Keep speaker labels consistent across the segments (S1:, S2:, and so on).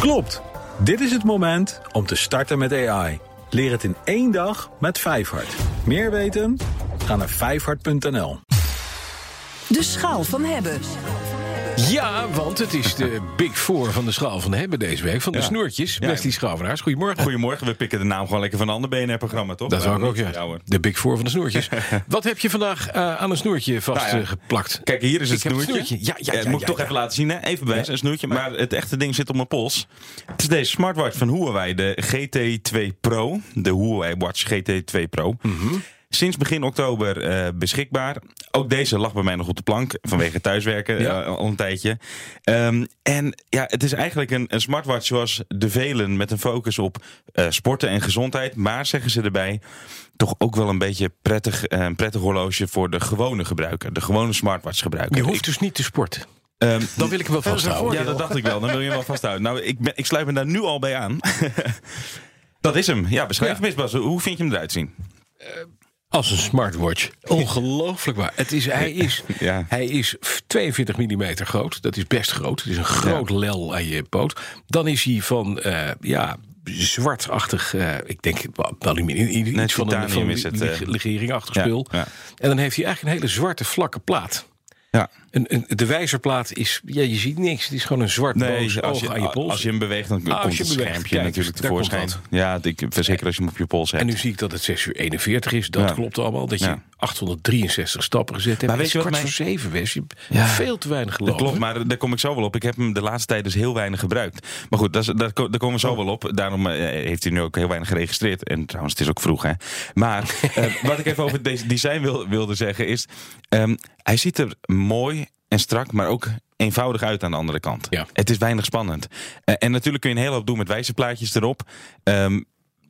S1: Klopt. Dit is het moment om te starten met AI. Leer het in één dag met Vijfhart. Meer weten? Ga naar vijfhart.nl.
S2: De schaal van hebben.
S3: Ja, want het is de Big Four van de schaal van de hebben deze week. Van de
S4: Ja.
S3: snoertjes.
S4: Ja.
S3: Best die schavenaars. Goedemorgen.
S4: Goedemorgen, we pikken de naam gewoon lekker van een ander BNR-programma, toch?
S3: Dat zou ik ook, ja.
S4: hoor.
S3: De Big Four van de snoertjes. Wat heb je vandaag eh, aan een snoertje
S4: Nou ja.
S3: vastgeplakt?
S4: Kijk, hier is het
S3: Ik heb het
S4: snoertje.
S3: snoertje. Ja, ja,
S4: dat
S3: ja,
S4: moet
S3: ja,
S4: ik toch
S3: ja.
S4: even laten zien, hè? Even bij, een snoertje. Maar het echte ding zit op mijn pols. Het is deze smartwatch van Huawei, de GT2 Pro. De Huawei Watch GT2 Pro.
S3: Mhm.
S4: Sinds begin oktober eh, beschikbaar. Ook deze lag bij mij nog op de plank vanwege thuiswerken
S3: Ja.
S4: eh, al een tijdje. Ehm, en ja, het is eigenlijk een, een smartwatch zoals de velen met een focus op eh, sporten en gezondheid. Maar zeggen ze erbij, toch ook wel een beetje prettig, eh, een prettig horloge voor de gewone gebruiker. De gewone smartwatch gebruiker.
S3: Je hoeft dus niet te sporten.
S4: Ehm,
S3: Dan wil ik hem wel vasthouden.
S4: ja, dat dacht ik wel. Dan wil je hem wel vasthouden. Nou, ik, ben, ik sluit me daar nu al bij aan. dat is hem. Ja, beschrijf
S3: Ja.
S4: hem eens, Bas. Hoe vind je hem eruit zien?
S3: Als een smartwatch. Ongelooflijk waar. Het is, hij, is,
S4: Ja.
S3: hij is 42 mm groot. Dat is best groot. Het is een groot lel aan je poot. Dan is hij van eh, ja, zwartachtig. eh, ik denk wel aluminium. Iets
S4: Nee,
S3: van een
S4: titanium
S3: van
S4: is het, eh.
S3: leg- legeringachtig
S4: Ja,
S3: spul.
S4: ja.
S3: En dan heeft hij eigenlijk een hele zwarte vlakke plaat.
S4: Ja.
S3: Een, een, de wijzerplaat is, ja, je ziet niks. Het is gewoon een zwart boos
S4: Nee, als
S3: oog
S4: je,
S3: aan je pols. Ah,
S4: als je hem beweegt, dan
S3: als
S4: komt
S3: je
S4: het
S3: beweegt,
S4: schermpje
S3: kijk,
S4: natuurlijk
S3: daar komt
S4: tevoorschijn. Ja, ik verzeker als je hem op je pols hebt.
S3: en nu zie ik dat het 6 uur 41 is. Dat
S4: Ja.
S3: klopt allemaal. Dat je
S4: Ja.
S3: 863 stappen gezet hebt.
S4: Maar
S3: Het
S4: weet je
S3: is
S4: wat
S3: kwart
S4: mij-
S3: voor 7 Wes. Je hebt
S4: Ja.
S3: veel te weinig
S4: Dat
S3: gelopen.
S4: klopt, maar daar kom ik zo wel op. Ik heb hem de laatste tijd dus heel weinig gebruikt. Maar goed, dat is, daar, ko- daar komen we zo wel op. Daarom eh, heeft hij nu ook heel weinig geregistreerd. En trouwens, het is ook vroeg, hè. Maar eh, wat ik even over deze design wil, wilde zeggen is... ehm, hij ziet er mooi en strak, maar ook eenvoudig uit aan de andere kant.
S3: Ja.
S4: Het is weinig spannend. Eh, en natuurlijk kun je een hele hoop doen met wijzerplaatjes erop. Ehm,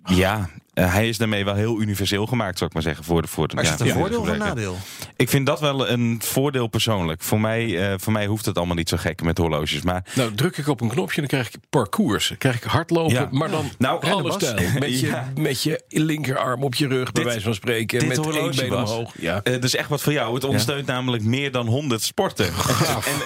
S4: ja, eh, hij is daarmee wel heel universeel gemaakt, zou ik maar zeggen. Voor, de- voor, de-
S5: Maar is
S4: ja,
S5: het een
S4: voor de
S5: voordeel of een
S4: gebruiker.
S5: nadeel?
S4: Ik vind dat wel een voordeel persoonlijk. Voor mij, eh, voor mij hoeft het allemaal niet zo gek met horloges. Maar
S3: Nou, druk ik op een knopje en dan krijg ik parcours. Dan krijg ik hardlopen,
S4: Ja.
S3: maar dan
S4: Nou, en
S3: alle
S4: de Bas.
S3: stijl. Met je,
S4: Ja.
S3: met je linkerarm op je rug, bij
S4: Dit-
S3: wijze van spreken.
S4: dit
S3: met één
S4: horloge,
S3: been
S4: Bas.
S3: omhoog. Ja.
S4: eh, dat is echt wat voor jou. Het ondersteunt namelijk meer dan 100 sporten. en,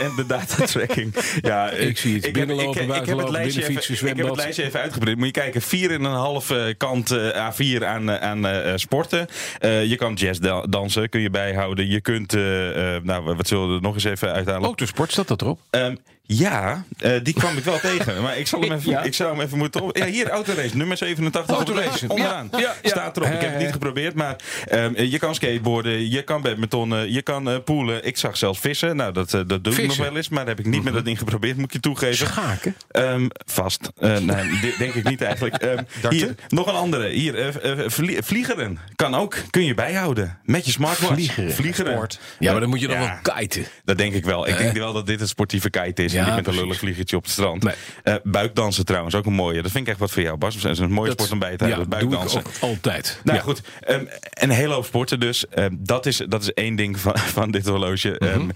S4: en de datatracking. ja, eh,
S3: Ik zie het.
S4: heb-
S3: Binnenlopen,
S4: ik- ik heb het
S3: buitenlopen,
S4: lijstje even-
S3: binnenfietsen,
S4: Ik heb het
S3: zwembad.
S4: lijstje even uitgebreid. Moet je kijken, 4,5 eh, kant eh, A4 aan, eh, aan eh, eh, sporten. Eh, je kan jazz da- dansen, kun je bijhouden. Je kunt, eh, eh, nou, wat zullen we er nog eens even uithalen?
S3: Autosport, staat dat erop?
S4: Ehm, ja, eh, die kwam ik wel tegen. Maar ik, zal hem even,
S3: Ja.
S4: ik zou hem even moeten op. Ja, hier, autorace, nummer 87.
S3: Autorace,
S4: Onderaan.
S3: ja, ja, ja.
S4: Staat erop. Ik heb het niet geprobeerd, maar ehm, je kan skateboarden, je kan badmintonnen, je kan eh poelen. Ik zag zelfs vissen. Nou, dat, eh, dat doe ik nog
S3: Vissen? Mhm.
S4: wel eens, maar daar heb ik niet met dat ding geprobeerd, moet ik je toegeven.
S3: Schaken?
S4: Ehm, vast. Eh, nee, dit denk ik niet eigenlijk. Ehm, hier, nog een andere. Hier, eh, eh, vlie- vliegeren. Kan ook. Kun je bijhouden. Met je smartwatch.
S3: Vliegeren.
S4: Sport.
S3: Ja, maar dan moet je dan
S4: Ja.
S3: wel kiten.
S4: Dat denk ik wel. Ik denk wel dat dit een sportieve kite
S3: Eh.
S4: is.
S3: Ja,
S4: en niet met een
S3: precies.
S4: lullig vliegertje op het strand.
S3: Nee.
S4: Eh, buikdansen trouwens, ook een mooie. Dat vind ik echt wat voor jou, Bas. Dat is een mooie sport om bij te houden.
S3: ja, doe ik
S4: buikdansen.
S3: ook altijd.
S4: Nou
S3: ja.
S4: goed, ehm, een hele hoop sporten dus. Ehm, dat, is, dat is één ding van, van dit horloge.
S3: Mhm.
S4: Ehm,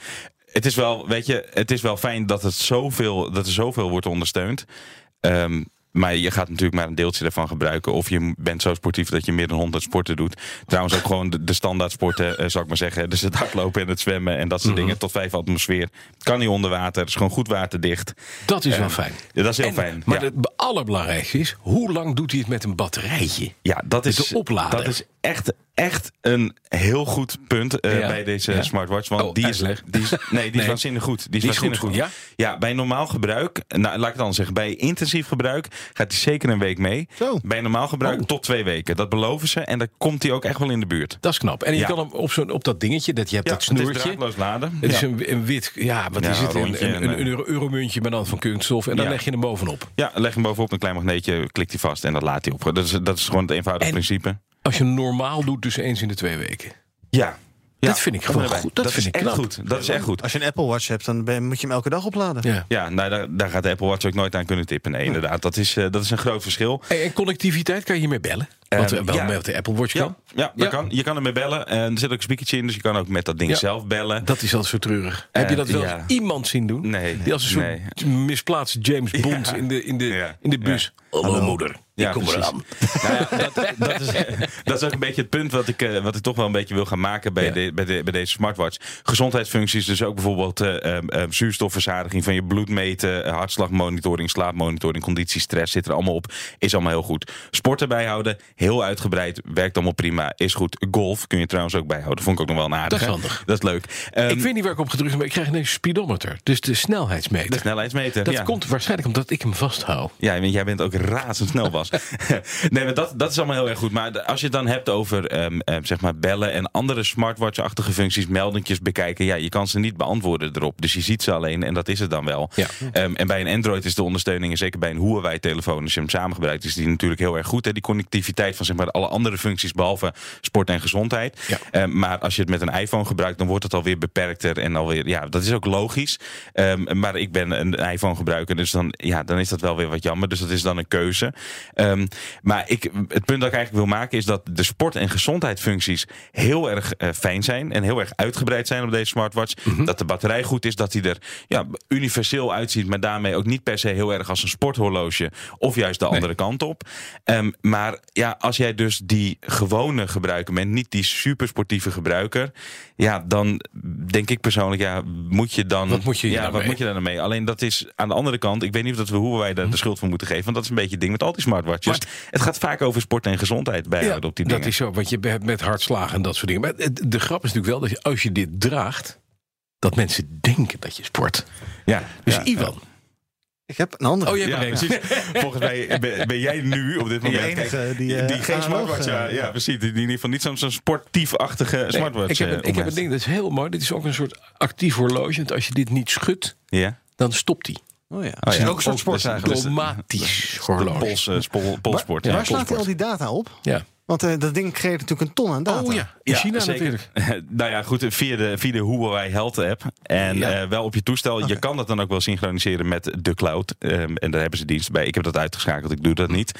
S4: het is wel, weet je, het is wel fijn dat, het zoveel, dat er zoveel wordt ondersteund. Ehm, maar je gaat natuurlijk maar een deeltje daarvan gebruiken. Of je bent zo sportief dat je meer dan 100 sporten doet. Trouwens ook gewoon de, de standaard sporten, eh, zou ik maar zeggen. Dus het hardlopen en het zwemmen en dat soort
S3: Mhm.
S4: dingen. Tot vijf atmosfeer. Kan niet onder water. Het is gewoon goed waterdicht.
S3: Dat is wel
S4: Ehm,
S3: fijn.
S4: ja, dat is heel
S3: En-
S4: fijn.
S3: Maar
S4: ja.
S3: het be- allerbelangrijkste is, hoe lang doet hij het met een batterijtje?
S4: Ja, dat is,
S3: de oplader.
S4: dat is echt, echt een heel goed punt eh,
S3: Ja.
S4: bij deze
S3: Ja.
S4: smartwatch. Want
S3: Oh,
S4: die, is,
S3: uitleg.
S4: die is. Nee, die is
S3: Nee.
S4: waanzinnig goed. Die is,
S3: Die is
S4: waanzinnig
S3: goed,
S4: goed.
S3: ja?
S4: bij normaal gebruik, nou, laat ik het dan zeggen, bij intensief gebruik gaat die zeker een week mee.
S5: Zo.
S4: Bij normaal gebruik tot twee weken. Dat beloven ze en dan komt hij ook echt wel in de buurt.
S3: Dat is knap. En je
S4: Ja.
S3: kan hem op, zo'n op dat dingetje, dat je hebt dat
S4: het is
S3: snoertje.
S4: draadloos laden.
S3: Het
S4: Ja.
S3: is een, een wit, ja, wat
S4: Ja,
S3: is het? Een,
S4: rondje
S3: een,
S4: en,
S3: een,
S4: eh,
S3: euro- euromuntje, maar dan van kunststof. En dan
S4: Ja.
S3: leg je hem bovenop.
S4: Ja, leg hem bovenop een klein magneetje, klikt hij vast en dat laat hij op. Dat is, dat is gewoon het eenvoudige
S3: En-
S4: principe.
S3: Als je hem normaal doet, dus eens in de twee weken.
S4: Ja. Ja,
S3: Dat vind ik gewoon
S4: erbij.
S3: goed. Dat vind
S4: is
S3: ik
S4: echt
S3: knap.
S4: goed. Dat is echt goed.
S5: Als je een Apple Watch hebt, dan ben- moet je hem elke dag opladen.
S3: Ja.
S4: Ja, nou, daar, daar gaat de Apple Watch ook nooit aan kunnen tippen. Nee, inderdaad. Dat is, eh, dat is een groot verschil.
S3: En, en connectiviteit kan je hiermee bellen? Wat
S4: Ehm,
S3: er wel
S4: ja.
S3: met de Apple Watch
S4: Ja,
S3: kan?
S4: ja, dat
S3: Ja.
S4: Kan, je kan ermee bellen. En er zit ook een speakertje in, dus je kan ook met dat ding
S3: Ja.
S4: zelf bellen.
S3: Dat is altijd zo treurig. Heb je dat wel eens
S4: Eh, ja.
S3: iemand zien doen?
S4: Nee.
S3: Die als een soort misplaatst James Bond in de, in de,
S4: Ja.
S3: in de bus.
S4: Ja.
S3: Hallo, moeder, ik
S4: Ja,
S3: kom
S4: precies.
S3: eraan.
S4: Nou ja, dat, dat, is, dat is ook een beetje het punt wat ik, eh, wat ik toch wel een beetje wil gaan maken bij,
S3: Ja.
S4: de, bij, de, bij deze smartwatch. Gezondheidsfuncties, dus ook bijvoorbeeld eh, ehm, ehm, zuurstofverzadiging van je bloed meten, eh, hartslagmonitoring, slaapmonitoring, conditie, stress zit er allemaal op. Is allemaal heel goed. Sporten bijhouden, heel uitgebreid, werkt allemaal prima, is goed. Golf kun je trouwens ook bijhouden, vond ik ook nog wel een aardige.
S3: Dat is handig.
S4: Dat is leuk. Ehm,
S3: ik weet niet waar ik op gedrukt heb, maar ik krijg ineens een speedometer. Dus de snelheidsmeter.
S4: de snelheidsmeter.
S3: dat
S4: ja.
S3: komt waarschijnlijk omdat ik hem vasthoud.
S4: Ja, want jij bent ook razendsnel, Bas. nee, maar dat, dat is allemaal heel erg goed. Maar de- als je het dan hebt over ehm, ehm, zeg maar bellen en andere smartwatch-achtige functies, meldingjes bekijken, ja, je kan ze niet beantwoorden erop. Dus je ziet ze alleen en dat is het dan wel.
S3: Ja.
S4: Ehm, en bij een Android is de ondersteuning, en zeker bij een Huawei-telefoon, als je hem samen gebruikt, is die natuurlijk heel erg goed. Hè? Die connectiviteit van zeg maar alle andere functies behalve sport en gezondheid.
S3: Ja.
S4: Ehm, maar als je het met een iPhone gebruikt, dan wordt het alweer beperkter en alweer, ja, dat is ook logisch. Ehm, maar ik ben een iPhone gebruiker, dus dan, ja, dan is dat wel weer wat jammer. Dus dat is dan een keuze. Ehm, maar ik, het punt dat ik eigenlijk wil maken is dat de sport- en gezondheidsfuncties heel erg eh, fijn zijn en heel erg uitgebreid zijn op deze smartwatch.
S3: Mhm.
S4: Dat de batterij goed is, dat hij er ja, universeel uitziet, maar daarmee ook niet per se heel erg als een sporthorloge of juist de andere kant op. Ehm, maar ja, als jij dus die gewone gebruiker bent, niet die supersportieve gebruiker, ja, dan denk ik persoonlijk, ja, moet je dan.
S3: Wat moet je hier
S4: ja,
S3: nou
S4: wat
S3: mee?
S4: moet je daar nou mee? Alleen dat is aan de andere kant, ik weet niet of dat we hoe wij daar de schuld van moeten geven, want dat is een beetje het ding met al die smartwatches.
S3: Maar
S4: het gaat vaak over sport en gezondheid bijhouden op die dingen.
S3: dat is zo, want je hebt met hartslagen en dat soort dingen. Maar het- de grap is natuurlijk wel dat je, als je dit draagt, dat mensen denken dat je sport.
S4: ja,
S3: Dus
S4: ja.
S3: Ivan.
S5: Ik heb een andere.
S3: Oh, jij
S4: Ja,
S3: hebt een-
S4: precies. Volgens mij ben, ben jij nu op dit moment
S5: enige
S4: kijk,
S5: die, eh,
S4: geen
S5: analoog,
S4: smartwatch. Ja,
S5: eh,
S4: ja, precies. Die, die in ieder geval niet zo'n zo'n sportiefachtige
S3: Nee,
S4: smartwatch.
S3: Ik heb,
S4: eh,
S3: een, ik heb een
S4: omlijst.
S3: ding, dat is heel mooi. Dit is ook een soort actief horloge. Want als je dit niet schudt,
S4: Ja.
S3: dan stopt hij.
S5: Oh ja.
S4: Oh, ja.
S5: Ook een soort sport
S4: Dus-
S5: eigenlijk.
S4: dus-
S3: Automatisch
S4: De
S3: horloge.
S4: pols, eh, spol- polsport.
S3: Maar-
S4: ja.
S5: Waar slaat hij al die data op?
S3: Ja.
S5: Want eh, dat ding creëert natuurlijk een ton aan data.
S3: Oh ja, in
S4: Ja,
S3: China
S4: zeker.
S3: natuurlijk.
S4: nou ja, goed, via de, via de Huawei Health app. En
S3: Ja.
S4: eh, wel op je toestel. Je kan dat dan ook wel synchroniseren met de cloud. Ehm, en daar hebben ze dienst bij. Ik heb dat uitgeschakeld, ik doe dat niet.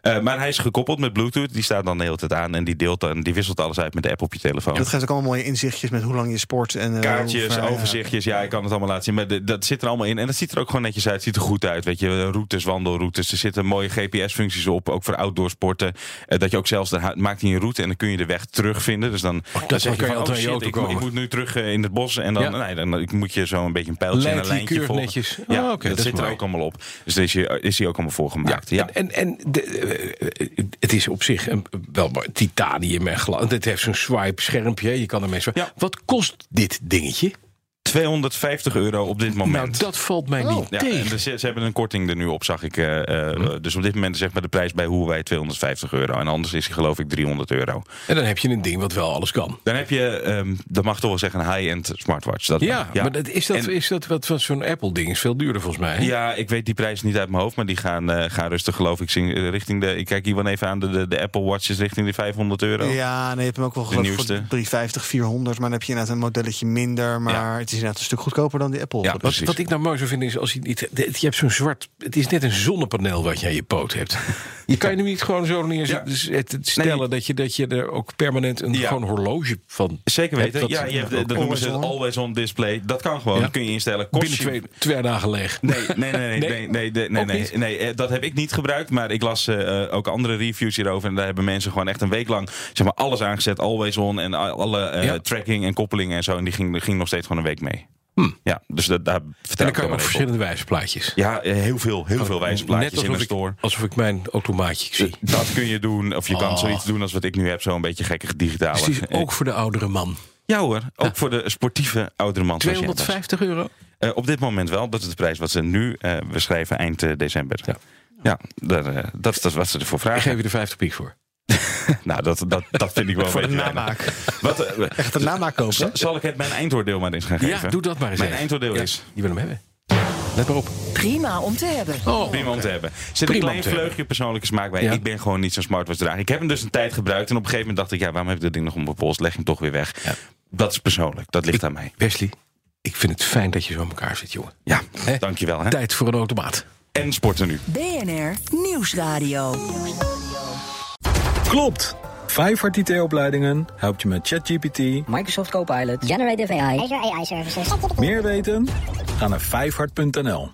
S4: Eh, maar hij is gekoppeld met Bluetooth. Die staat dan de hele tijd aan. En die, deelt dan, die wisselt alles uit met de app op je telefoon.
S5: Dat geeft ook allemaal mooie inzichtjes met hoe lang je sport. En, eh, hoe
S4: Kaartjes,
S5: ver-
S4: overzichtjes, ja, ik kan het allemaal laten zien. Maar de- dat zit er allemaal in. En dat ziet er ook gewoon netjes uit. Ziet er goed uit. Weet je, routes, wandelroutes. Er zitten mooie GPS-functies op. Ook voor outdoor sporten. Eh, dat je ook zelfs, de, maakt hij een route en dan kun je de weg terugvinden. Dus dan, dan
S3: kan je
S4: van,
S3: altijd aan je auto
S4: ik, moet-
S3: komen.
S4: ik moet nu terug eh, in het bos. En dan,
S3: Ja.
S4: nee, dan ik moet je zo een beetje een pijltje
S3: Leidt
S4: en een
S3: hij
S4: lijntje
S3: keurig
S4: volgen.
S3: netjes?
S4: Ja,
S3: Ah, oké,
S4: dat,
S3: dat is
S4: zit er
S3: mooi.
S4: ook allemaal op. Dus er is, hier- is hij ook allemaal voor gemaakt. Ja,
S3: En, en de, eh, het is op zich een, wel mooi. titanium en glas. Het heeft zo'n swipe schermpje. Je kan ermee swipen.
S4: Ja.
S3: Wat kost dit dingetje?
S4: 250 euro op dit moment.
S3: Nou, dat valt mij niet
S4: Ja, en
S3: tegen. Hm.
S4: dus ze, ze hebben een korting er nu op, zag ik. eh, eh, Dus op dit moment is zeg maar de prijs bij Huawei 250 euro. En anders is hij geloof ik 300 euro.
S3: En dan heb je een ding wat wel alles kan.
S4: Dan heb je, ehm, dat mag toch wel zeggen, een high-end smartwatch. Dat
S3: Ja, maar
S4: dat
S3: dat, is, dat,
S4: En-
S3: is dat wat wat zo'n Apple-ding? Is veel duurder volgens mij. hè?
S4: ja, ik weet die prijs niet uit mijn hoofd, maar die gaan, eh, gaan rustig, geloof ik, zing- eh, richting de. Ik kijk hier wel even aan de, de, de Apple Watches richting de 500 euro.
S5: Ja, nee, je hebt hem ook wel geloof ik voor
S4: nieuwste.
S5: 350, 400. Maar dan heb je inderdaad een modelletje minder. Maar
S4: Ja.
S5: het is inderdaad een stuk goedkoper dan die Apple.
S4: Ja,
S3: Wat,
S4: precies.
S3: wat ik nou mooi zou vinden is als je niet. de- Je hebt zo'n zwart. Het is net een zonnepaneel wat je aan je poot hebt. Je kan je nu niet gewoon zo
S4: Ja.
S3: neerzetten. stellen dat, je, dat je er ook permanent een
S4: Ja.
S3: gewoon horloge van.
S4: Zeker weten.
S3: Hebt dat-
S4: ja, je hebt, eh, dat
S5: Always
S4: noemen ze het
S5: on.
S4: always on display. Dat kan gewoon.
S3: Ja.
S4: Dat kun je instellen. Kost
S3: Binnen
S4: je-
S3: twee, twee dagen leeg.
S4: Nee, nee, nee, nee,
S3: Nee?
S4: nee, nee, nee, nee,
S3: Ook
S4: nee,
S3: niet?
S4: nee, eh, dat heb ik niet gebruikt. Maar ik las eh, eh, ook andere reviews hierover. En daar hebben mensen gewoon echt een week lang zeg maar, alles aangezet. Always on en a- alle eh,
S3: Ja.
S4: tracking en koppeling en zo. En die ging, ging nog steeds gewoon een week mee. Ja, dus dat, daar
S3: Hm. En
S4: vertrouw
S3: dan
S4: ik
S3: kan je
S4: wel
S3: ook
S4: even op.
S3: verschillende wijzerplaatjes.
S4: Ja, eh, heel veel, heel veel wijze
S3: Net
S4: plaatjes in
S3: alsof
S4: de
S3: ik,
S4: store. Eh,
S3: alsof ik mijn automaatje zie.
S4: Dat kun je doen, of je kan
S3: Oh.
S4: zoiets doen als wat ik nu heb, zo'n beetje gekke digitale.
S3: Dus het is ook voor de oudere man.
S4: Ja hoor, ook voor de sportieve oudere man. zoals jij was.
S3: 250 euro?
S4: Eh, op dit moment wel, dat is de prijs wat ze nu, eh, we schrijven eind eh, december.
S3: Ja.
S4: Ja, daar, eh, dat is dat wat ze ervoor
S3: Ik
S4: vragen.
S3: geef je er 50 piek voor.
S4: Nou, dat, dat, dat vind ik wel een
S5: Voor de
S4: beetje weinig.
S5: namaak.
S4: Wat, eh,
S5: Echt een namaak kopen.
S4: z- zal ik het mijn eindoordeel maar eens gaan geven?
S3: Ja, doe dat maar eens
S4: Mijn
S3: even.
S4: eindoordeel
S3: Ja,
S4: is...
S3: Die wil hem hebben. Let maar op.
S2: Prima om te hebben.
S3: Oh,
S4: Prima om te hebben. Zit
S3: Prima
S4: een
S3: om te
S4: klein
S3: hebben.
S4: vleugje persoonlijke smaak bij.
S3: Ja.
S4: Ik ben gewoon niet zo'n smartwatch drager. Ik heb hem dus een tijd gebruikt. En op een gegeven moment dacht ik, ja, waarom heb ik dat ding nog op mijn pols? Leg hem toch weer weg.
S3: Ja.
S4: Dat is persoonlijk. Dat ligt aan mij.
S3: Wesley, ik vind het fijn dat je zo aan elkaar zit, jongen.
S4: Ja,
S3: Hè?
S4: dankjewel. Hè?
S3: Tijd voor een automaat.
S4: En sporten nu.
S2: BNR Nieuwsradio.
S1: Klopt! Vijfhart IT-opleidingen helpt je met ChatGPT.
S6: Microsoft Copilot, Generative AI,
S7: Azure AI services.
S1: Meer weten? Ga naar vijfhart.nl.